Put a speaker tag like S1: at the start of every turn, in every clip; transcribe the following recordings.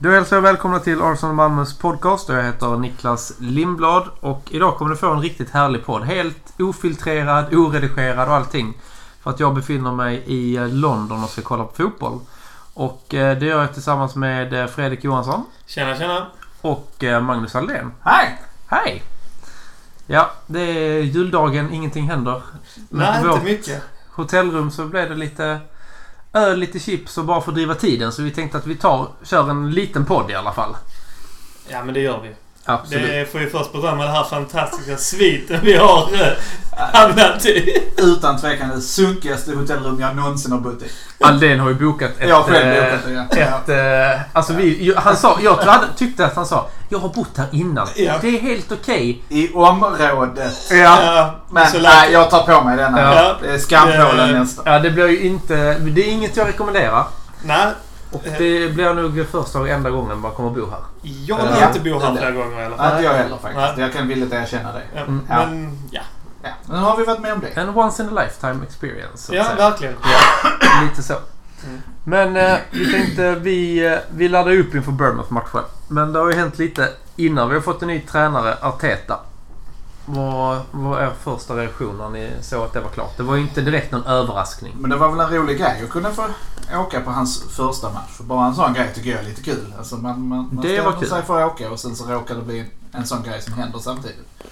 S1: Då hälsar jag välkomna till Arsenal Malmös podcast. Jag heter Niklas Lindblad och idag kommer du få en riktigt härlig podd. Helt ofiltrerad, oredigerad och allting. För att jag befinner mig i eh, London och ska kolla på fotboll. Och eh, det gör jag tillsammans med eh, Fredrik Johansson
S2: Tjena, tjena!
S1: och eh, Magnus Aldén.
S2: Hej!
S1: Hej! Ja, det är juldagen, ingenting händer. Men
S2: Nej,
S1: på vårt
S2: inte mycket.
S1: hotellrum så blev det lite öl, lite chips och bara för att driva tiden. Så vi tänkte att vi tar, kör en liten podd i alla fall.
S2: Ja, men det gör vi.
S1: Absolut.
S2: Det får vi först berömma det här fantastiska sviten vi har eh, hamnat i.
S3: Utan tvekan det sunkigaste hotellrum jag någonsin har bott i.
S1: Aldén har ju bokat ett...
S3: jag har själv
S1: eh,
S3: bokat det ja. ja.
S1: Ett, eh, alltså vi, ju- han sa, jag tro- hade- tyckte att han sa Jag har bott här innan.
S3: Ja.
S1: Det är helt okej.
S3: I området.
S1: Ja.
S2: Ja,
S3: Men
S2: så lät
S3: nej, jag tar på mig denna.
S2: Ja.
S3: Det är skampålen
S2: Eh,
S3: nästa.
S1: det blir ju inte... Det är inget jag rekommenderar.
S2: Nej,
S1: Och det blir nog första och enda gången man kommer att bo här.
S2: jag
S1: Ja.
S2: har inte bott här flera gånger i alla fall.
S3: Inte jag heller faktiskt.
S2: Nej.
S3: Jag kan villigt erkänna det.
S2: Ja,
S1: Mm.
S2: Men, ja.
S3: Ja. Nu har vi varit med om det.
S1: En once in a lifetime experience. så att
S2: Ja,
S1: säga.
S2: verkligen.
S1: Lite så. Men eh, vi tänkte vi, eh, vi laddar upp inför Bournemouth-matchen. Men det har ju hänt lite innan. Vi har fått en ny tränare, Arteta. Vad, vad är första reaktion när ni såg att det var klart? Det var ju inte direkt någon överraskning.
S3: Men det var väl en rolig grej att kunna få åka på hans första match. För bara en sån grej tycker jag är lite kul. Alltså man man, man
S1: Det var
S3: ställer
S1: kul.
S3: sig för att åka och sen så råkar det bli en sån grej som händer samtidigt.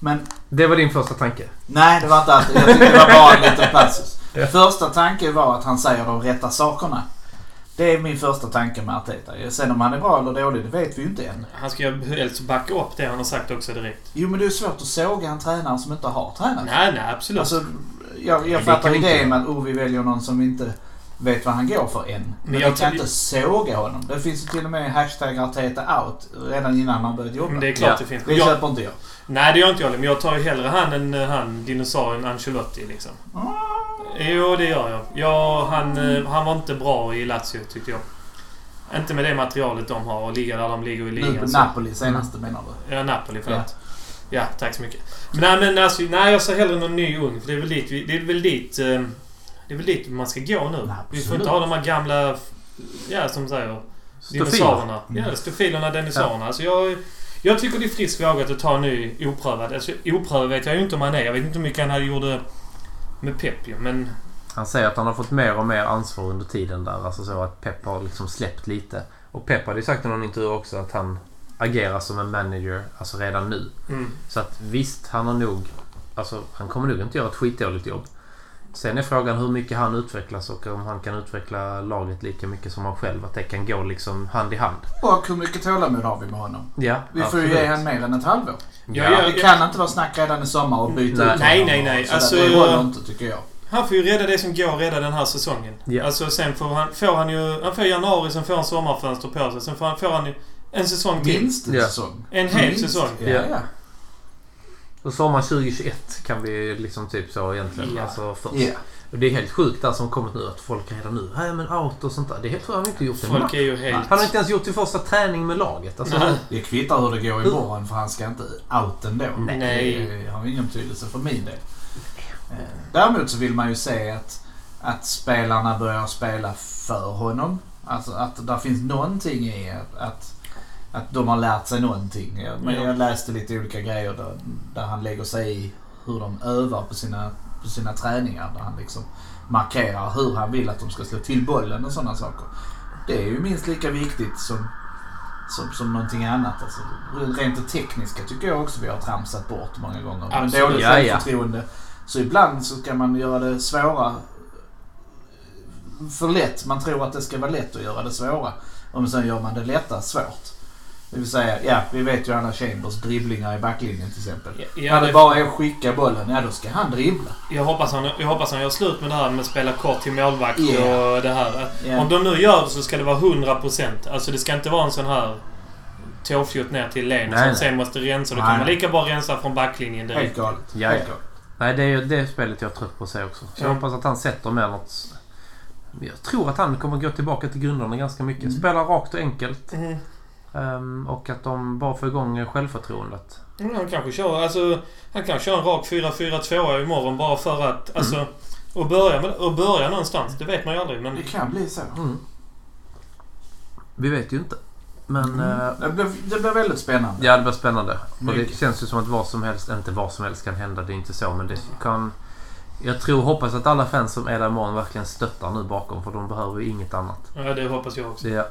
S3: Men
S1: Det var din första tanke?
S3: Nej, det var inte allt. Jag tyckte det var bara en liten passus. Första tanken var att han säger de rätta sakerna. Det är min första tanke med Arteta. Sen om han är bra eller dålig, det vet vi ju inte än.
S2: Han ska ju helst backa upp det han har sagt också direkt.
S3: Jo, men det är svårt att såga en tränare som inte har tränat.
S2: Nej, nej, absolut.
S3: Alltså, jag
S1: det
S3: jag fattar
S1: kan vi
S3: idén
S1: inte.
S3: med att oh, vi väljer någon som inte vet vad han går för än. Men
S2: jag
S3: vi kan
S2: tror-
S3: inte såga honom. Det finns ju till och med hashtag Arteta out redan innan han börjat jobba.
S2: men det är
S3: Det,
S2: klart
S1: Ja.
S2: det finns. Jag,
S3: köper inte jag.
S2: nej, det gör inte jag Men jag tar ju hellre han än eh, han, dinosaurien Ancelotti liksom. Jo, det gör jag. Ja, han, eh, han var inte bra i Lazio, tyckte jag. Inte med det materialet de har och ligga där de ligger i
S3: Nu på
S2: ligan. så-
S3: Napoli senaste menar du?
S2: Ja, Napoli, förlåt. Ja. tack så mycket. Men, nej, men alltså, nej, jag ser hellre någon ny ung. För det är väl dit, vi- det är väl dit, eh, det är väl dit man ska gå nu. Vi får inte ha de här gamla, ja, som säger,
S1: Stofil.
S2: dinosaurierna. Ja, stofilerna, dinosaurierna. Alltså, jag, jag tycker det är friskt vågat att ta en ny oprövad. Alltså, oprövad vet jag ju inte om han är. Jag vet inte hur mycket han hade gjort eh, med Pep ju, men...
S1: Han säger att han har fått mer och mer ansvar under tiden där. Alltså så att Pep har liksom släppt lite. Och Pep hade ju sagt i någon intervju också att han agerar som en manager, alltså redan nu.
S2: Mm.
S1: Så att visst, han har nog... Alltså, han kommer nog inte göra ett skitdåligt jobb. Sen är frågan hur mycket han utvecklas och om han kan utveckla laget lika mycket som han själv. Att det kan gå liksom hand i hand.
S3: Och hur mycket tålamod har vi med honom?
S1: Ja,
S3: Vi får ju
S1: absolut.
S3: ge han mer än ett halvår.
S1: Ja.
S2: Ja,
S3: Det kan inte vara snack redan i sommar och byta
S1: Nej.
S3: ut
S2: Nej,
S3: honom.
S2: nej, nej.
S3: Så
S2: Alltså-
S3: det håller inte tycker jag.
S2: Han får ju rädda det som går redan den här säsongen.
S1: Ja.
S2: Alltså sen får han, får han ju... Han får januari, sen får han sommarfönster på sig. Sen får han, får han ju en säsong till.
S3: Minst en
S1: Ja.
S3: säsong.
S2: En hel
S3: Minst.
S2: säsong.
S3: Ja,
S1: Ja.
S3: ja.
S1: Och sommaren 2021 kan vi liksom typ så egentligen.
S2: Ja.
S1: Alltså först.
S3: Ja.
S1: Och det är helt sjukt där som kommit nu att folk redan nu, nej men out och sånt där. Det är helt sjukt. Han har inte gjort en match.
S2: Folk är ju helt...
S1: Han har inte ens gjort sin första träning med laget. Alltså,
S2: Nej.
S3: Det kvittar hur det går i morgon för han ska inte out ändå.
S2: Nej.
S3: Det har ingen betydelse för min del. Eh, Däremot så vill man ju se att, att spelarna börjar spela för honom. Alltså att där finns någonting i att, att, att de har lärt sig någonting. Jag, men
S2: Ja.
S3: jag läste lite olika grejer där, där han lägger sig i hur de övar på sina, på sina träningar. Där han liksom markerar hur han vill att de ska slå till bollen och sådana saker. Det är ju minst lika viktigt som, som, som någonting annat. Alltså, rent det tekniska tycker jag också vi har tramsat bort många gånger. Men
S2: Absolut.
S3: dåligt
S1: Ja, ja.
S3: självförtroende. Så ibland så kan man göra det svåra för lätt. Man tror att det ska vara lätt att göra det svåra. Och sen gör man det lätta svårt. Det vill säga, ja, vi vet ju alla Chambers dribblingar i backlinjen till exempel.
S2: Ja,
S3: När
S2: ja,
S3: det
S2: det,
S3: bara är att skicka bollen, ja då ska han dribbla.
S2: jag, hoppas han, jag hoppas han gör slut med det här med att spela kort till målvakt
S3: Ja.
S2: och det här.
S3: Ja.
S2: Om de nu gör det så ska det vara 100%. Alltså det ska inte vara en sån här tåfjutt ner till len
S1: Nej,
S2: som
S1: nej.
S2: sen måste rensa. Då
S3: Nej,
S2: kan man
S3: nej.
S2: lika bra rensa från backlinjen direkt.
S3: Helt galet.
S1: Ja,
S3: Helt
S1: ja.
S3: galet.
S1: Nej, det är ju det spelet jag är trött på att se också. Så jag
S2: Ja.
S1: hoppas att han sätter med något. Jag tror att han kommer gå tillbaka till grunderna ganska mycket.
S3: Mm.
S1: Spela rakt och enkelt.
S2: Mm.
S1: Ehm, och att de bara får igång självförtroendet.
S2: Mm, han kanske kör, alltså, han kan köra en rak 4-4-2 imorgon bara för att... Alltså,
S3: Mm.
S2: och, börja med, och börja någonstans. Det vet man ju aldrig. Men
S3: Det kan bli så.
S1: Mm. Vi vet ju inte. Men eh,
S3: Mm. Det blev, det blev väldigt spännande.
S1: ja, det blir spännande. Och det
S3: Mycket.
S1: känns ju som att vad som helst, inte vad som helst kan hända. Det är inte så, men det kan... Jag tror, hoppas att alla fans som är där imorgon verkligen stöttar nu bakom. För de behöver ju inget annat.
S2: Ja, det hoppas jag också.
S1: Så ja,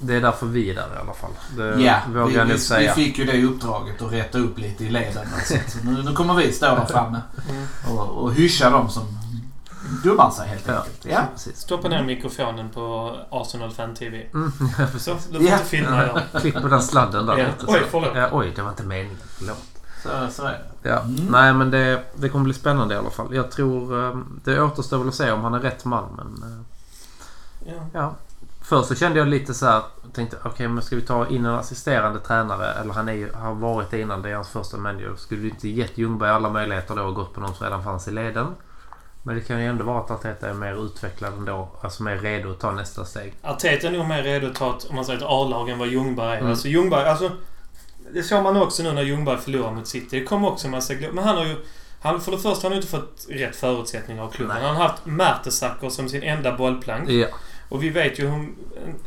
S1: det är därför vi är där i alla fall. Det
S3: Ja, eh,
S1: vågar
S3: vi,
S1: jag
S3: vi,
S1: nog säga.
S3: vi fick ju det uppdraget att rätta upp lite i leden. Alltså. Så nu, nu kommer vi stå där framme
S2: Mm.
S3: och, och hyscha dem som dummar sig helt
S1: Ja.
S3: enkelt. Ja.
S1: Precis.
S2: Stoppa ner mikrofonen på Arsenal Fan TV.
S1: Mm, ja, precis.
S2: Så, då får
S3: Ja.
S2: du filma jag.
S1: Klipp på den sladden där.
S2: Ja.
S1: lite så.
S2: Oj, förlåt.
S1: Ja, oj, det var inte meningen. Förlåt.
S3: Så, så är det.
S1: Ja.
S3: Mm.
S1: Nej, men det, det kommer bli spännande i alla fall. Jag tror... eh, Det återstår väl att se om han är rätt man, men... eh,
S2: Ja.
S1: Ja. Först så kände jag lite så här. jag Tänkte okej men ska vi ta in en assisterande tränare? Eller han är ju, har varit det innan. Det är hans första manager. Skulle du inte gett Ljungberg alla möjligheter då och gått på någon som redan fanns i leden? Men det kan ju ändå vara att Arteta är mer utvecklad ändå. Alltså mer redo att ta nästa steg.
S2: Arteta är nog mer redo att ta ett, om man säger ett A-lag än vad Ljungberg är.
S1: Mm.
S2: Alltså Ljungberg, alltså... Det såg man också nu när Ljungberg förlorade mot City. Det kom också en massa glo- Men han har ju... Han, för det första har han inte fått rätt förutsättningar av klubben.
S1: Nej.
S2: Han har haft Mertesacker som sin enda bollplank.
S1: Ja.
S2: Och vi vet ju hur...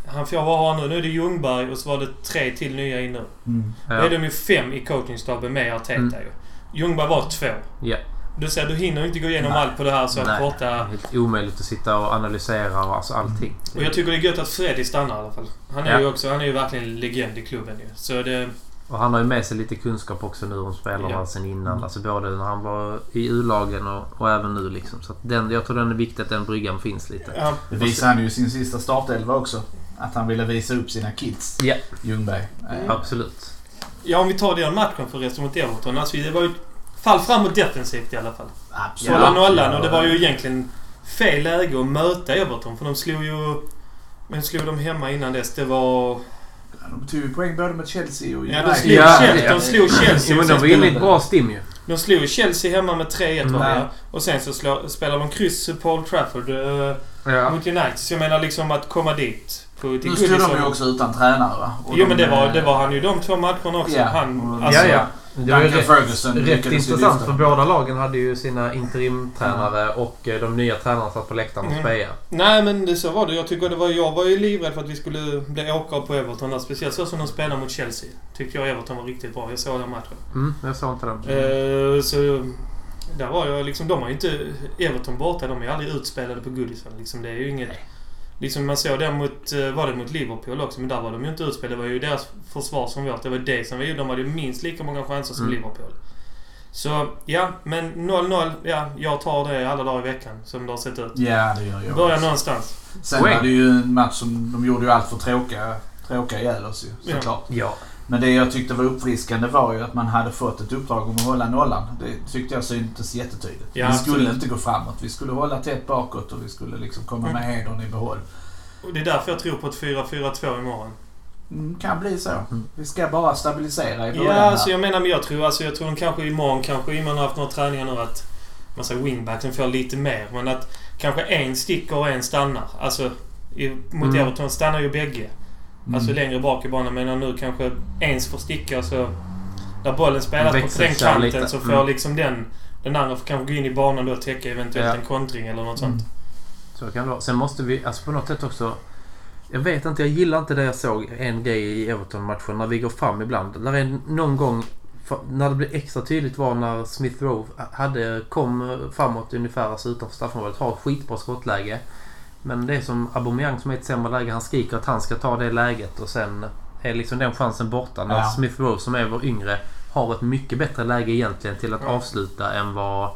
S2: Han får vara nu. Nu är det Ljungberg och så var det tre till nya in nu.
S3: Mm.
S2: Då är
S1: Ja.
S2: de ju fem i coachingstaben med Arteta
S1: Mm.
S2: ju. Ljungberg var två.
S1: Ja.
S2: Du ser, du hinner inte gå igenom
S3: Nej.
S2: allt på det här så
S1: Nej.
S2: korta...
S1: Helt omöjligt att sitta och analysera och alltså allting.
S2: Mm. Och jag tycker det är gött att Freddy stannar i alla fall. Han är
S1: Ja.
S2: ju också... Han är ju verkligen legend i klubben ju. Så det...
S1: Och han har ju med sig lite kunskap också nu om spelarna
S2: Ja. Mm.
S1: sen innan. Alltså både när han var i U-lagen och, och även nu liksom. Så att den, jag tror den är viktig att den bryggan finns lite.
S2: Ja,
S3: Det visade han ju i sin sista startelva också. Att han ville visa upp sina kids.
S1: Ja.
S3: Ljungberg. Eh,
S1: Absolut.
S2: ja, om vi tar den matchen förresten mot Everton. Alltså det var ju ett fall framåt defensivt i alla fall.
S3: Absolut.
S2: Sålla nollan och det var ju egentligen fel läge att möta Everton för de slog ju... Men slog de hemma innan dess? Det var...
S3: De tog ju poäng både mot Chelsea och
S2: Ja,
S3: United.
S2: de slog
S1: Ja,
S2: Chelsea.
S1: ja.
S2: De slog
S1: Jo,
S2: Chelsea.
S1: men
S2: och
S1: de
S2: sen
S1: var inne i ett bra stim ju.
S2: De slog Chelsea hemma med 3-1 var det
S3: Mm.
S2: ja. Och sen så slå, spelar de kryss på Old Trafford eh,
S1: Ja.
S2: mot United. Så jag menar liksom att komma dit. På, till
S3: Nu stod de ju
S2: Goodison.
S3: också utan tränare va? Och
S2: Jo
S3: de,
S2: men det var,
S3: eh,
S2: det var han ju de två matcherna också.
S3: Ja.
S2: Han,
S3: Och-
S2: alltså,
S1: ja, ja. Det var ju
S3: Duncan
S1: rätt,
S3: Ferguson
S1: rätt
S3: lyckades ju
S1: intressant
S3: lyfta.
S1: för båda lagen hade ju sina interimtränare och eh, de nya tränarna satt på läktaren och
S2: Mm.
S1: spejade.
S2: Nej men det, så var det. Jag, tycker det var, jag var ju livrädd för att vi skulle bli åkare på Everton. Där, speciellt så som de spelade mot Chelsea. Tyckte jag Everton var riktigt bra. Jag såg den matchen.
S1: Mm, jag såg inte den.
S2: Eh, så där var jag liksom. De har ju inte... Everton borta, de är ju aldrig utspelade på Goodison. Liksom, det är ju inget... Liksom man såg det mot... eh, Var det mot Liverpool också? Men där var de ju inte utspelade. Det var ju deras försvar som vårt. Det var det som vi gjorde. De hade ju minst lika många chanser som
S1: Mm.
S2: Liverpool. Så ja, men 0-0. Ja, jag tar det alla dagar i veckan som det har sett ut.
S3: Ja, det gör jag
S2: Börja
S3: också.
S2: någonstans.
S3: Sen
S1: Poäng.
S3: var det ju en match som de gjorde ju allt för tråkiga, tråkiga ihjäl oss ju,
S2: Ja.
S3: såklart.
S1: Ja.
S3: Men det jag tyckte var uppfriskande var ju att man hade fått ett uppdrag om att hålla nollan. Det tyckte jag syntes jättetydligt.
S2: Ja,
S3: vi skulle
S2: absolut.
S3: inte gå framåt. Vi skulle hålla tätt bakåt och vi skulle liksom komma med hedern i behåll.
S2: Och det är därför jag tror på ett 4-4-2 imorgon.
S3: Mm, kan bli så.
S1: Mm.
S3: Vi ska bara stabilisera i början
S2: Ja,
S3: här.
S2: alltså jag menar, men jag tror, alltså, jag tror de kanske imorgon, kanske innan har haft några träningar nu att man säger wingbacken får lite mer. Men att kanske en sticker och en stannar. Alltså, i, mot
S1: Mm.
S2: Everton stannar ju bägge.
S3: Mm.
S2: Alltså längre bak i banan. Men nu kanske ens får sticka så... Där bollen spelas på
S1: Växlar
S2: den
S1: sig
S2: kanten
S1: lite.
S2: så får
S1: Mm.
S2: liksom den... Den andra får kanske gå in i banan då och täcka eventuellt
S1: Ja.
S2: en kontring eller något sånt.
S1: Så kan det vara. Sen måste vi, alltså på något sätt också... Jag vet inte, jag gillar inte det jag såg en grej i Everton-matchen när vi går fram ibland. Där är någon gång, för- när det blev extra tydligt var när Smith Rowe hade, kom framåt ungefär alltså utanför straffområdet, har ett skitbra skottläge. Men det är som Aubameyang som är i ett sämre läge, han skriker att han ska ta det läget och sen är liksom den chansen borta. När
S3: Ja.
S1: Smith Rowe som är vår yngre har ett mycket bättre läge egentligen till att
S2: Ja.
S1: avsluta än vad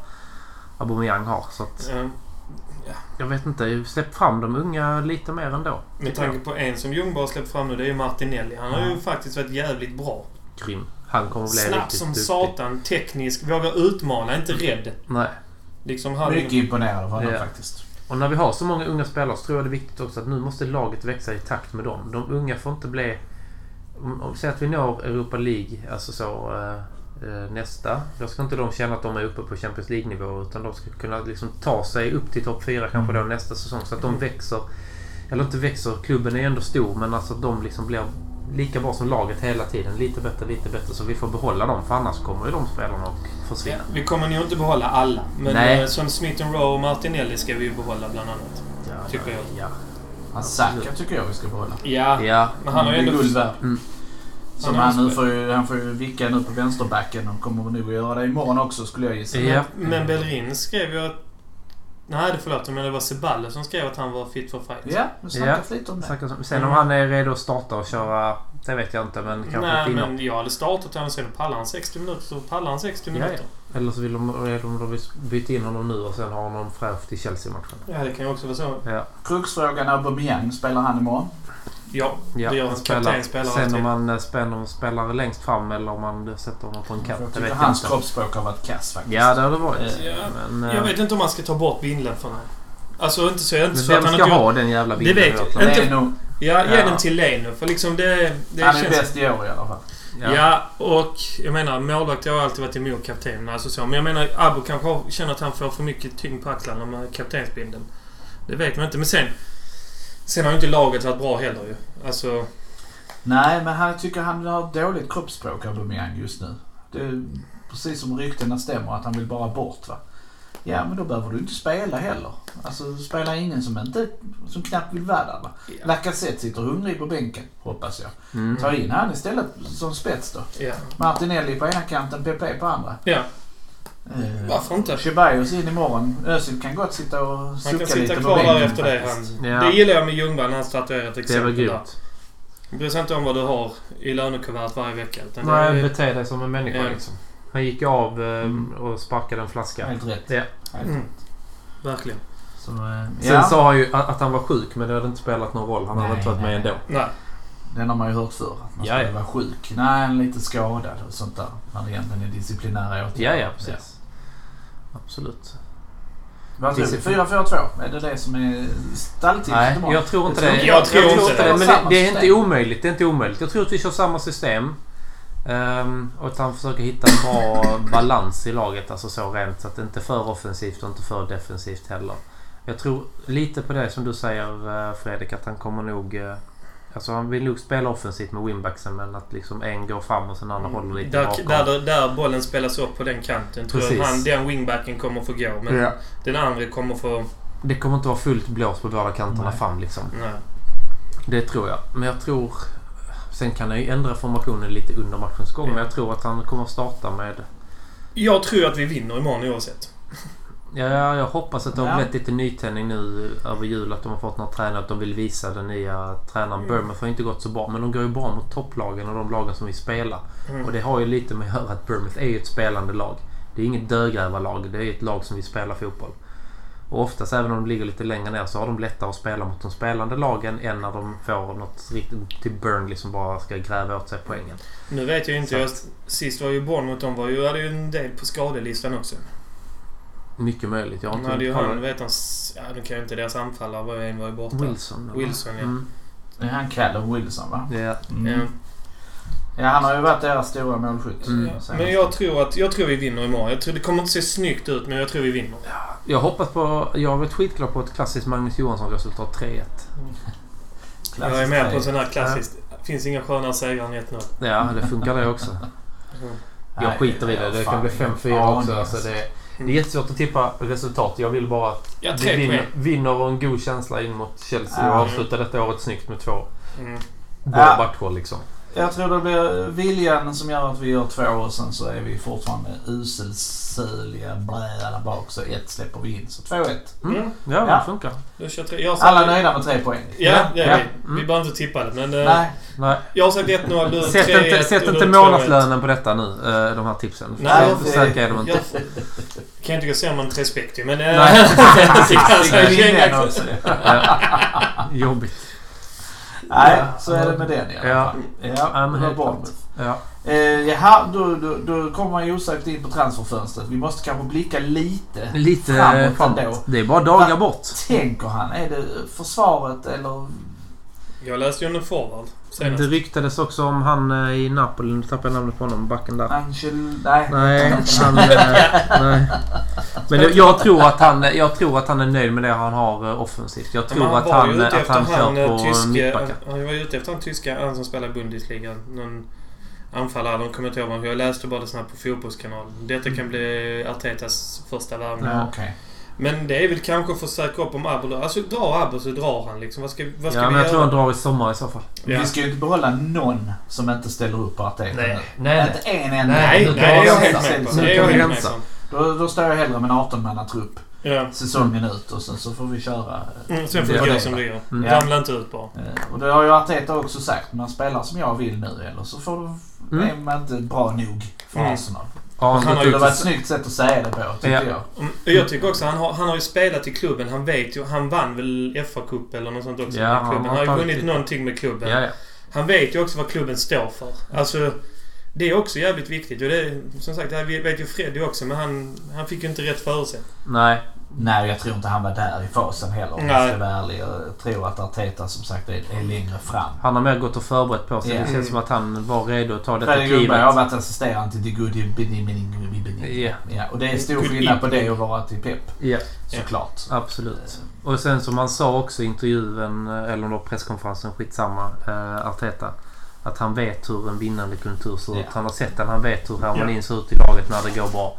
S1: Aubameyang har. Så att,
S2: Eh,
S1: jag vet inte, släpp fram de unga lite mer ändå.
S2: med tanke på en som Ljungberg har släppt fram nu, det är ju Martinelli. Han har ju faktiskt varit jävligt bra.
S1: Grym. Han kommer bli
S2: Snabb
S1: riktigt
S2: som
S1: duktig.
S2: satan, teknisk, vågar utmana, inte rädd.
S1: Nej.
S2: Liksom han...
S3: Mycket imponerad av honom
S1: Ja.
S3: faktiskt.
S1: Och när vi har så många unga spelare så tror jag det är viktigt också att nu måste laget växa i takt med dem. De unga får inte bli... om- om- Säg att vi når Europa League, alltså så, eh, eh, nästa. Då ska inte de känna att de är uppe på Champions League-nivå utan de ska kunna liksom ta sig upp till topp 4 kanske
S2: Mm.
S1: då nästa säsong så att de växer. Eller inte växer, klubben är ju ändå stor men alltså att de liksom blir lika bra som laget hela tiden. Lite bättre, lite bättre. Så vi får behålla dem för annars kommer ju de spelarna att försvinna.
S2: Vi kommer nog inte behålla alla. Men
S1: Nej.
S2: eh, som Smith Rowe och Martinelli ska vi ju behålla bland annat.
S1: Ja,
S2: Tycker
S1: ja,
S2: jag.
S1: Ja.
S3: Han Saka tycker jag vi ska behålla.
S2: Ja,
S1: Ja.
S2: men han har ju
S3: är guld
S2: ändå...
S3: värd.
S1: Mm.
S3: Som
S2: Han har
S3: han, nu
S2: spe-
S3: får ju, han får ju vicka nu på vänsterbacken och kommer nog att göra det imorgon också skulle jag gissa.
S1: Ja.
S2: Men Bellerin skrev ju att... Nej, det förlåt. Men det var Ceballos som skrev att han var fit for fight.
S3: Ja, vi snackar lite om det.
S1: Snackar som- Sen om
S2: Mm.
S1: han är redo att starta och köra, det vet jag inte. Men kanske
S2: Nej,
S1: finna.
S2: men jag hade startat honom sen. Pallar han 60 minuter så pallar han 60
S1: Ja,
S2: minuter.
S1: Eller så vill de, eller om de vill byta in honom nu och sen ha honom fräsch till Chelsea-matchen.
S2: Ja, det kan ju också vara så.
S1: Ja.
S3: Kruxfrågan Aubameyang, spelar han imorgon?
S2: Ja,
S1: ja.
S2: det gör
S1: han
S2: hans kapten. Spelar
S1: Sen om
S2: alltid.
S1: man eh, spänner, spelar längst fram eller om man sätter honom på en
S3: För
S1: kant.
S3: jag
S1: Det
S3: tycker
S1: vet jag typ
S3: hans
S1: inte.
S3: kroppsspråk har varit kass faktiskt.
S1: Ja, det har det varit.
S2: Ja.
S1: Men, eh,
S2: Jag vet inte om man ska ta bort vindeln från honom. Alltså, inte så, inte
S1: men
S2: så att
S1: vem
S2: han
S1: ska
S2: inte...
S1: ha den jävla
S2: Det
S1: bilden?
S2: vet
S1: i vårt
S2: jag.
S1: land?
S2: Inte-
S3: det är nog,
S2: Ja, ge
S1: Ja.
S2: den till Leno. För liksom det... det
S3: han är
S2: känns...
S3: bäst i år i alla fall.
S2: Ja. och jag menar målvakt har jag alltid varit emot kaptenen. Alltså så. Men jag menar Abo kanske har- känner att han får för mycket tyngd på axlarna med kaptensbindeln. Det vet man inte. Men sen... Sen har ju inte laget varit bra heller ju. Alltså...
S3: Nej, men han tycker han har ett dåligt kroppsspråk, Aubameyang, just nu. Det är precis som ryktena stämmer, att han vill bara bort. va Ja, men då behöver du inte spela heller. Alltså, spela ingen som, inte, som knappt vill vara där. Va?
S2: Ja.
S3: Lacazette sitter hungrig på bänken, hoppas jag.
S1: Mm.
S3: Ta in han istället som spets då.
S2: Ja.
S3: Martinelli på ena kanten, Pepe på andra.
S2: Ja.
S3: Eh,
S2: Varför inte?
S3: Ceballos in imorgon. Özil kan gott sitta och
S2: Han
S3: sucka
S2: kan sitta
S3: lite
S2: kvar
S3: på bänken
S2: där efter det.
S3: faktiskt.
S2: Han,
S1: Ja.
S2: Det gillar jag liksom med Ljungberg när han statuerat
S1: Det är väl
S2: exempel där.
S1: grymt.
S2: Han bryr sig inte om vad du har i lönekuvertet varje vecka. Utan
S1: Nej,
S2: det,
S1: bete dig som en människa
S2: Ja.
S1: liksom. Han gick av eh, och sparkade en flaska.
S3: Helt rätt.
S1: Ja.
S3: Helt
S2: mm,
S3: rätt.
S2: verkligen.
S3: Så, eh,
S1: Sen
S3: ja.
S1: sa han ju att, att han var sjuk, men det hade inte spelat någon roll. Han hade
S3: Nej,
S1: inte varit med
S3: nej.
S1: ändå.
S2: Nej.
S3: Den har man ju hört förr. Att man
S1: Ja,
S3: skulle
S1: ja.
S3: vara sjuk. Nej, en lite skadad och sånt där. När det egentligen är disciplinära
S1: Ja,
S3: åtgärder.
S1: ja, precis. Absolut.
S3: Vad tror du?
S1: Disciplin.
S3: 4-4-2? Är det det som är stalltipset
S1: Nej,
S3: imorgon?
S1: jag tror inte
S3: Jag
S1: det.
S2: tror- jag tror inte det.
S1: Men det,
S3: Samma
S1: det är inte
S3: system.
S1: omöjligt. Det är inte omöjligt. Jag tror att vi kör samma system. ehm, och att han försöker hitta en bra balans i laget. Alltså så rent. Så att det inte är för offensivt och inte för defensivt heller. Jag tror lite på det som du säger eh, Fredrik. Att han kommer nog... eh, Alltså han vill nog spela offensivt med winbacksen. Men att liksom en går fram och sen andra
S3: Mm.
S1: håller lite
S2: Där,
S1: bakom.
S2: där, där, där bollen spelas upp på den kanten tror jag
S1: Precis.
S2: han, den wingbacken kommer få gå. Men
S1: Ja.
S2: den andra kommer få...
S1: Det kommer inte vara fullt blås på båda kanterna
S3: Nej.
S1: fram liksom.
S2: Nej.
S1: Det tror jag. Men jag tror... Sen kan han ju ändra formationen lite under matchens gång. Men jag tror att han kommer starta med...
S2: Jag tror att vi vinner imorgon oavsett.
S1: Ja, jag hoppas att det har
S3: Ja.
S1: blivit lite nytändning nu över jul. Att de har fått några tränare. Att de vill visa den nya tränaren.
S2: Mm.
S1: Burma har ju inte gått så bra. Men de går ju bra mot topplagen och de lagen som vill spela.
S2: Mm.
S1: Och det har ju lite med att göra att Bournemouth är ju ett spelande lag. Det är inget dödgrävarlag. Det är ett lag som vill spela fotboll. Och oftast, även om de ligger lite längre ner, så har de lättare att spela mot de spelande lagen än när de får något riktigt till Burnley som bara ska gräva åt sig poängen.
S2: Nu vet jag ju inte.
S1: Så
S2: Jag, sist var ju Bournemouth. De var ju, hade ju en del på skadelistan också.
S1: Mycket möjligt. Jag har
S2: Han
S1: inte
S2: hade ju
S1: kollat.
S2: han, vet han... s- Ja, nu kan ju inte deras anfallare. Var en var ju borta.
S1: Wilson. eller?
S2: Wilson, ja.
S1: Mm.
S3: Det är han Callum Wilson va? Mm.
S1: Ja.
S2: Ja.
S3: Ja, han har ju varit deras stora målskytt.
S1: Mm.
S2: Ja,
S3: Sen-
S2: Men jag tror att jag tror vi vinner imorgon. Jag tror, det kommer inte se snyggt ut, men jag tror vi vinner.
S1: Jag hoppas på... Jag har varit skitglad på ett klassiskt Magnus Johansson-resultat 3-1.
S3: Klassiskt
S2: jag är med på
S3: tre.
S2: en sån här klassisk... Finns inga skönare segrar Mm. än 1-0.
S1: Ja, det funkar det också. Jag
S3: Nej,
S1: skiter i det. Det
S3: fan,
S1: kan bli
S3: ingen
S1: 5-4 också.
S3: aning,
S1: Alltså det, det är jättesvårt att tippa resultat. Jag vill bara att
S2: Ja,
S1: vi
S2: tre
S1: vinner,
S2: poäng.
S1: vinner och en god känsla in mot Chelsea och
S3: Ja.
S1: avslutar detta året snyggt med två
S2: Mm.
S1: bra
S3: Ja.
S1: matcher liksom.
S3: Jag tror det blir viljan som gör att vi gör två och sen så är vi fortfarande uselsöliga blä där bak så ett släpper vi in. Så 2-1.
S1: Mm.
S2: Mm.
S1: Ja,
S3: Ja.
S1: det funkar.
S2: Då kör tre. Jag sa-
S3: Alla nöjda med tre poäng?
S2: Ja, det är
S1: Ja.
S2: vi.
S1: Mm.
S2: Vi behöver inte tippa det, men... eh,
S3: Nej.
S1: Nej.
S2: Jag har sagt 1-0, du
S1: Sätt
S2: 3-1
S1: inte, sätt
S2: och du
S1: inte
S2: 2-1.
S1: månadslönen på detta nu, eh, de här tipsen.
S2: Nej,
S1: så
S2: det-
S1: säkra är de
S2: Jag
S1: inte.
S2: kan inte gå sämre än respekt ju, men... eh,
S1: Nej.
S2: jag ska
S3: Skriv in
S2: känna-
S3: den också.
S1: Ja. Jobbigt.
S3: Nej, så är det med den i alla
S1: Ja.
S3: fall. Ja,
S1: men
S3: det var
S1: helt
S3: bra.
S1: klart. Ja.
S3: Eh, jaha, då, då, då kommer man ju osökt in på transferfönstret. Vi måste kanske blicka lite.
S1: Lite
S3: Framåt
S1: framåt.
S3: ändå.
S1: Det är bara dagar
S3: Va?
S1: bort.
S3: Tänker han? Är det försvaret eller...
S2: Jag läste ju om en forward
S1: Det
S2: senast.
S1: ryktades också om han eh, i Napoli. Nu tappade jag namnet på honom. Backen där.
S3: Angel... Nej.
S1: Nej, han, eh, nej. Men det- jag tror, att han, jag tror att han är nöjd med det han har eh, offensivt. Jag
S2: Men
S1: tror att
S2: var ju
S1: han,
S2: ute
S1: att
S2: efter
S1: han kör
S2: eh,
S1: på
S2: tyske-
S1: mittbacken.
S2: Han han var ju ute efter han tyska, han som spelar i Bundesliga. Någon anfallare, de kommer inte ihåg vem. Jag läste bara det snabbt på Fotbollskanalen. Detta kan bli Artetas första värvning.
S3: Ja, Okej.
S2: Men det är väl kanske för att säkra upp om Abbo... Alltså drar Abbo så drar han liksom. Vad ska, vad ska
S1: ja,
S2: vi
S1: men jag tror
S2: göra?
S1: han drar i sommar i så fall.
S2: Ja.
S3: Vi ska ju inte behålla någon som inte ställer upp på Arteta
S1: Nej,
S3: nu.
S1: nej,
S3: Inte en enda.
S1: Nej,
S2: Nej,
S1: nu kan
S2: nej, det är
S1: vi
S2: jag
S1: rensa.
S2: helt med på.
S1: Nu
S2: Det är
S1: kan
S2: jag
S1: vi
S2: helt med
S1: rensa.
S2: på.
S3: Då, då står jag hellre med en 18-mannatrupp
S2: Ja.
S3: säsongen ut och sen så får vi köra. eh,
S2: Mm, sen får
S1: Det
S2: det
S1: är
S2: gå
S3: det.
S2: som det gör.
S1: Mm.
S2: Ramla inte ut bara.
S3: eh, Och det har ju Arteta också sagt. Man spelar som jag vill nu eller så får,
S1: Mm.
S3: är man inte bra nog för
S2: Mm.
S3: Arsenal.
S1: Har han
S2: Han
S1: gått
S2: har
S3: Det
S1: ut
S2: ju
S3: var ett
S1: och...
S3: snyggt sätt att säga det på tycker
S1: Ja.
S3: jag.
S2: Mm, Jag tycker också han har, han har ju spelat i klubben. Han vet ju. Han vann väl FA-cup eller något sånt också
S1: Ja,
S2: med klubben.
S1: han
S2: Han
S1: har
S2: har ju
S1: tagit
S2: vunnit
S1: lite.
S2: någonting med klubben.
S1: Ja, ja.
S2: Han vet ju också vad klubben står för. Alltså, det är också jävligt viktigt. Och det, som sagt, det här vet ju Freddy också, men han, han fick ju inte rätt förutsättningar.
S1: Nej.
S3: Nej, jag tror inte han var där i fasen heller om jag
S2: Nej.
S3: ska vara ärlig. Jag tror att Arteta som sagt är, är längre fram.
S1: Han har mer gått och förberett på sig.
S3: Ja.
S1: Det känns som att han var redo att ta detta
S3: Fredrik Lundberg
S1: klivet.
S3: har varit assisterande till The Good Ibini- Ibini- Ibini.
S1: Ja.
S3: Ja, och det är stor
S2: Good
S3: skillnad på
S2: Ibini.
S3: det och vara till Pep,
S1: Ja,
S3: såklart.
S1: absolut. Och sen som han sa också i intervjun, eh, eller om det var presskonferensen, skitsamma, eh, Arteta. Att han vet hur en vinnande kultur ser ut.
S3: Ja.
S1: Han har sett den. Han vet hur harmonin ser ut i laget när det går bra.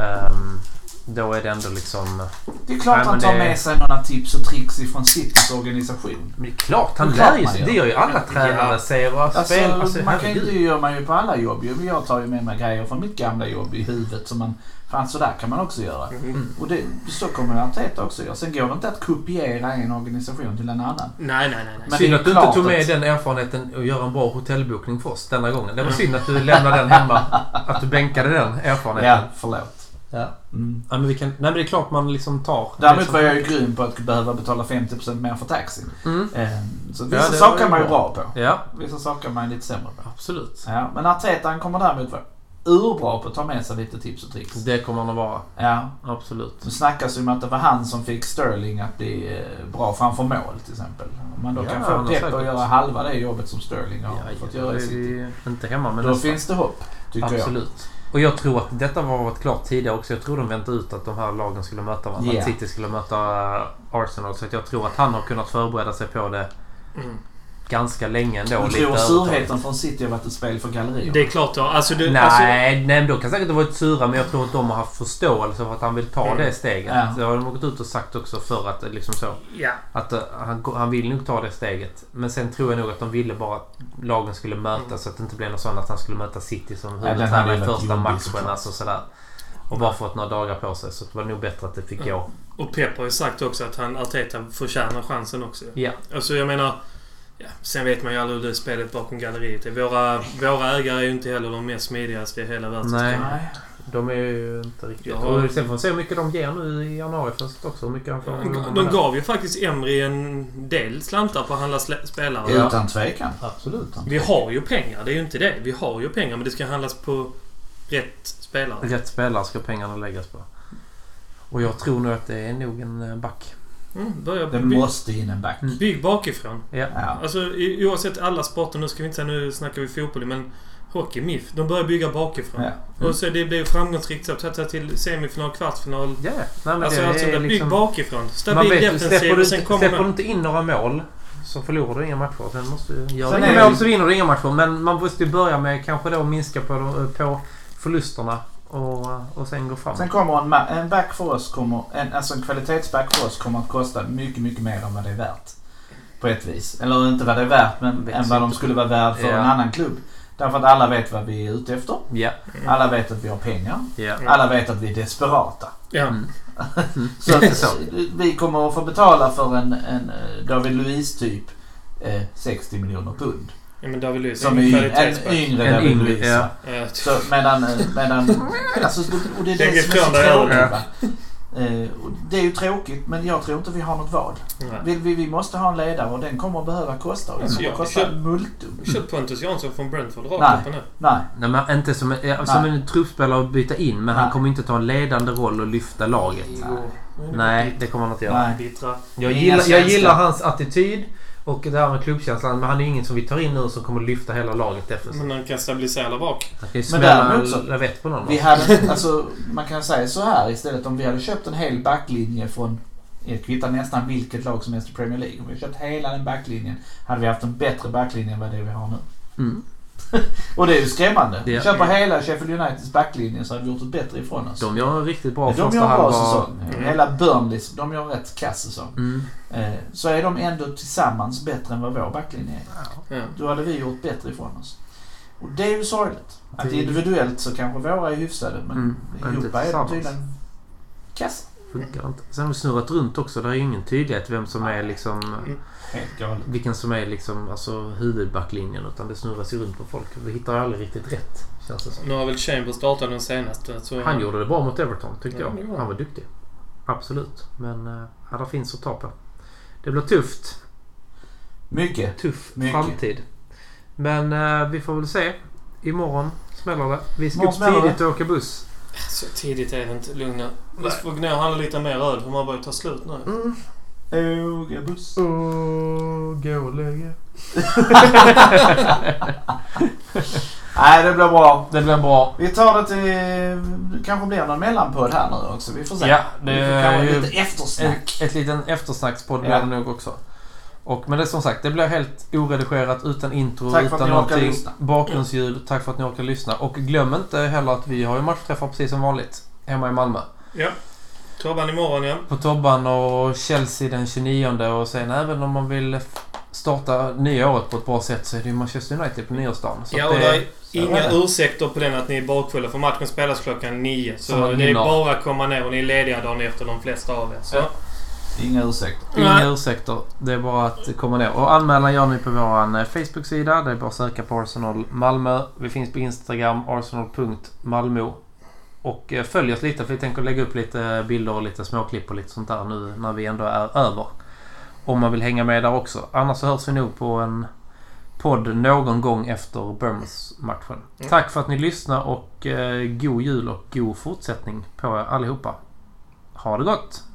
S1: Ehm, då är det ändå liksom...
S3: Det är klart
S1: Nej, men
S3: han tar
S1: det-
S3: med sig några tips och tricks ifrån Citys organisation.
S1: Men det är klart, han
S3: Det är klart
S1: lär ju
S3: man
S1: sig.
S3: gör.
S1: Det gör ju alla tränare.
S2: Ja.
S1: Ser och
S3: Alltså,
S1: spelare. Alltså,
S3: man kan ju,
S1: herregud.
S3: det gör man ju på alla jobb ju. Men Jag tar ju med mig grejer från mitt gamla jobb i huvudet. Som man, fan sådär kan man också göra.
S1: Mm.
S3: Och det, så kommer Arteta också göra. Sen går det inte att kopiera en organisation till en annan.
S2: Nej, nej, nej. nej.
S3: Men
S1: synd
S3: det är
S1: att du inte
S3: klart
S1: tog med
S3: att-
S1: den erfarenheten och göra en bra hotellbokning för oss denna gången. Det var synd att du lämnade den hemma. Att du bänkade den
S3: Ja,
S1: erfarenheten.
S3: förlåt.
S1: Ja.
S3: Mm.
S1: Ja, men vi kan, nej men det är klart man liksom tar...
S3: Däremot var jag ju grym på att behöva betala 50% mer för taxin.
S1: Mm.
S3: Eh, Så
S1: Ja,
S3: vissa
S1: det var
S3: saker
S1: ju
S3: är man ju
S1: bra.
S3: bra på.
S1: Ja,
S3: Vissa saker är man ju lite sämre på.
S1: absolut.
S3: Ja, men Arteta han kommer däremot vara urbra på att ta med sig lite tips och tricks.
S1: Det kommer han att vara.
S3: Ja,
S1: Absolut.
S3: Det snackas ju om att det var han som fick Sterling att bli eh, bra framför mål till exempel. Om man då
S1: Ja,
S3: kan
S1: han har
S3: få Pep
S1: säkert-
S3: att göra halva det jobbet som Sterling har fått
S1: då
S3: göra i
S1: är
S3: City.
S1: vi inte hemma men
S3: Då
S1: nästan.
S3: finns det hopp, tycker
S1: Absolut. Och jag tror att detta var varit klart tidigare också. Jag tror de väntade ut att de här lagen skulle möta varandra.
S3: Ja.
S1: Att City skulle möta eh, Arsenal. Så att jag tror att han har kunnat förbereda sig på det
S2: Mm.
S1: ganska länge ändå.
S3: jag. Jag
S1: lite
S3: tror
S1: övertag.
S3: surheten från City har varit ett spel för gallerier.
S2: Det är klart då. Alltså, du,
S1: Nej,
S2: alltså,
S1: nej, men de kan säkert ha varit sura men jag tror att de har haft förståelse för att han vill ta
S2: Mm.
S1: det steget.
S3: Ja.
S1: Det har de gått ut och sagt också för att liksom så.
S2: ja.
S1: Att eh, han, han vill nog ta det steget. Men sen tror jag nog att de ville bara att lagen skulle mötas
S2: Mm.
S1: så att det inte blev något sånt att han skulle möta City som
S3: den
S1: huvudtränare
S3: hade
S1: i
S3: varit
S1: första
S3: jobbig
S1: matchen.
S3: såklart.
S1: Alltså sådär. Och bara fått några dagar på sig. Så det var nog bättre att det fick
S2: Mm.
S1: gå.
S2: Och Pep har ju sagt också att han, Arteta förtjänar chansen också.
S1: Ja.
S2: Alltså jag menar... Ja, sen vet man ju aldrig hur det spelet bakom galleriet är. Våra, våra ägare är ju inte heller de mest smidigaste i hela världssystemet.
S1: Nej.
S3: Nej.
S1: De är ju inte riktigt...
S2: Ja.
S1: Och sen får vi se hur mycket de ger nu i januarifönstret också. Hur mycket han får. Mm.
S2: De, de gav ju faktiskt Emry en del slantar på att handla slä- spelare.
S1: Ja.
S3: Utan tvekan.
S1: Absolut.
S2: Vi har ju pengar, det är ju inte det. Vi har ju pengar, men det ska handlas på rätt spelare.
S1: Rätt spelare ska pengarna läggas på. Och jag tror nog att det är nog en eh, back.
S2: Mm, börja
S3: Det
S2: by,
S3: måste in en back.
S1: Mm.
S2: bygg bakifrån.
S1: Ja.
S3: Ja.
S2: Alltså, i, oavsett alla sporter, nu ska vi inte säga nu snackar vi fotboll, men hockey, MIF, de börjar bygga bakifrån.
S3: Ja.
S2: Och så det blir framgångsrikt så att ta till semifinal, kvartsfinal.
S1: Ja, nej, men
S2: Alltså
S1: det
S2: allt sånt
S1: är
S2: där. Bygg
S1: liksom...
S2: bakifrån.
S1: Man
S2: Stabil
S1: vet ju,
S2: defensiv
S1: släpper du,
S2: och sen
S1: inte,
S2: kommer
S1: släpper du
S2: man...
S1: inte in några mål så förlorar du inga matcher. Sen måste du, gör
S3: Sen
S1: du
S3: är
S1: inga
S3: det-
S1: mål så vinner du inga matcher. Men man måste ju börja med kanske då minska på, de- på förlusterna och, och sen gå framåt.
S3: Sen kommer en, ma- en back för oss, kommer, en, alltså en kvalitetsback för oss kommer att kosta mycket, mycket mer än vad det är värt. På ett vis. Eller inte vad det är värt, men
S1: Växer
S3: än vad de
S1: inte.
S3: skulle vara värd för
S1: Ja.
S3: en annan klubb. Därför att alla vet vad vi är ute efter.
S1: Ja,
S3: Alla vet att vi har pengar.
S1: ja.
S2: Mm.
S3: Alla vet att vi är desperata.
S2: Ja.
S1: Mm.
S3: Så
S1: Det är
S3: att
S1: så.
S3: vi kommer att få betala för en, en eh, David Luiz typ eh, 60 miljoner pund.
S2: ja, men David Luiz är
S3: Som är
S2: en
S3: yng- en
S2: kvalitetsback.
S3: yngre
S1: En
S3: David
S1: yngre,
S3: Luiz.
S1: ja.
S3: va?
S2: Ja,
S3: Så medan... eh, medan alltså, och det är
S2: Tänk
S3: det som är så
S2: ifrån där,
S3: tråkigt.
S1: ja.
S3: Va? Eh, och Det är ju tråkigt men jag tror inte vi har något val.
S2: nej.
S3: Vi, vi, vi måste ha en ledare och den kommer att behöva kosta. Och den
S2: Alltså,
S3: kommer
S2: jag-
S3: att kosta
S2: jag-
S3: multum.
S2: Köp Pontus Jansson från Brentford
S3: Nej.
S2: rakt upp och ner.
S3: Nej.
S1: Nej, men inte som, en- ja, som en truppspelare att byta in. Men han
S3: Nej.
S1: kommer inte ta en ledande roll och lyfta laget. Nej, det kommer han inte göra.
S3: Nej.
S2: Bittra.
S1: Jag
S3: Inga
S1: gillar, jag
S3: svenskar.
S1: gillar hans attityd och det här med klubbkänslan. Men han är ju ingen som vi tar in nu som kommer lyfta hela laget defensivt.
S2: Men han kan stabilisera bak.
S1: Han kan ju
S3: Men
S1: smälla
S3: däremot så-
S1: en lavett på någon.
S3: Vi hade, alltså, man kan säga så här istället om vi hade köpt en hel backlinje från jag kvittar nästan vilket lag som helst i Premier League. Om vi hade köpt hela den backlinjen hade vi haft en bättre backlinje än vad det vi har nu.
S1: Mm.
S3: Och det är ju skrämmande.
S1: Ja.
S3: Köper hela Sheffield Uniteds backlinje så hade vi gjort ett bättre ifrån oss.
S1: De gör en riktigt bra
S3: De gör en
S1: första
S3: bra
S1: halva.
S3: säsong.
S2: Mm.
S3: Hela Burnley, de gör en rätt kass säsong.
S1: Mm.
S3: Eh, Så är de ändå tillsammans bättre än vad vår backlinje är.
S2: Ja.
S3: Då hade vi gjort bättre ifrån oss. Och det är ju sorgligt. Att
S1: Det-
S3: individuellt så kanske våra är hyfsade men
S1: Mm, men inte
S3: ihop är de
S1: tillsammans.
S3: tydligen kass.
S1: Funkar inte. Sen har vi snurrat runt också. Det är ju ingen tydlighet vem som är liksom...
S3: Helt galet.
S1: Vilken som är liksom alltså huvudbacklinjen. Utan det snurras ju runt på folk. Vi hittar aldrig riktigt rätt. Känns det som.
S2: Nu har väl Chambers startat den senaste. Så
S1: Han gjorde det bra mot Everton tyckte
S2: Ja,
S1: jag.
S2: det gjorde han.
S1: Han var duktig. Absolut. Men eh, ja, det finns att ta på. Det blir tufft.
S3: Mycket.
S1: Tuff
S3: Mycket.
S1: framtid. Men eh, vi får väl se. Imorgon smäller det. Vi ska
S3: Imorgon
S1: upp
S3: smäller
S1: tidigt och åka buss.
S2: Så tidigt är det inte. Lugna. Vi får gnå och handla lite mer öl för man börjar ta slut nu.
S1: Mm.
S3: Åga buss.
S1: Och gå och lägga.
S3: Nej, det blir bra.
S1: Det blir bra.
S3: Vi tar det till... Det kanske blir någon mellanpodd här nu också. Vi får se.
S1: Ja, det
S3: vi får
S1: är
S3: kanske
S1: ju
S3: lite eftersnack.
S1: ett, ett liten eftersnackspodd blir
S3: Ja.
S1: det nog också. Och, men det är som sagt, det blir helt oredigerat utan intro,
S3: Tack för att
S1: utan
S3: ni orkar
S1: någonting.
S3: lyssna.
S1: Bakgrundsljud. Tack för att ni orkar lyssna. Och glöm inte heller att vi har ju matchträffar precis som vanligt. Hemma i Malmö.
S2: Ja. Tobban imorgon ja.
S1: På Tobban och Chelsea den 29 och sen även om man vill f- starta nya året på ett bra sätt så är det ju Manchester United på nyårsdagen. Så
S2: ja
S1: att
S2: och
S1: det,
S2: det är
S1: är
S2: inga
S1: det.
S2: ursäkter på den att ni är bakfulla för matchen spelas klockan nio.
S1: Så
S2: Så
S1: man
S2: det är
S1: hinner.
S2: bara att komma ner och ni är lediga dagen efter de flesta av er. Så.
S1: Ja.
S3: Inga ursäkter.
S1: Inga
S2: Nej.
S1: ursäkter. Det är bara att komma ner. Och anmälan gör ni på vår eh, Facebook-sida. Det är bara att söka på Arsenal Malmö. Vi finns på Instagram, arsenal.malmo. Och eh, följ oss lite för vi tänker lägga upp lite eh, bilder och lite småklipp och lite sånt där nu när vi ändå är över. Om man vill hänga med där också. Annars så hörs vi nog på en podd någon gång efter Burns-matchen.
S2: Mm.
S1: Tack för att ni lyssnar och eh, god jul och god fortsättning på er allihopa. Ha det gott!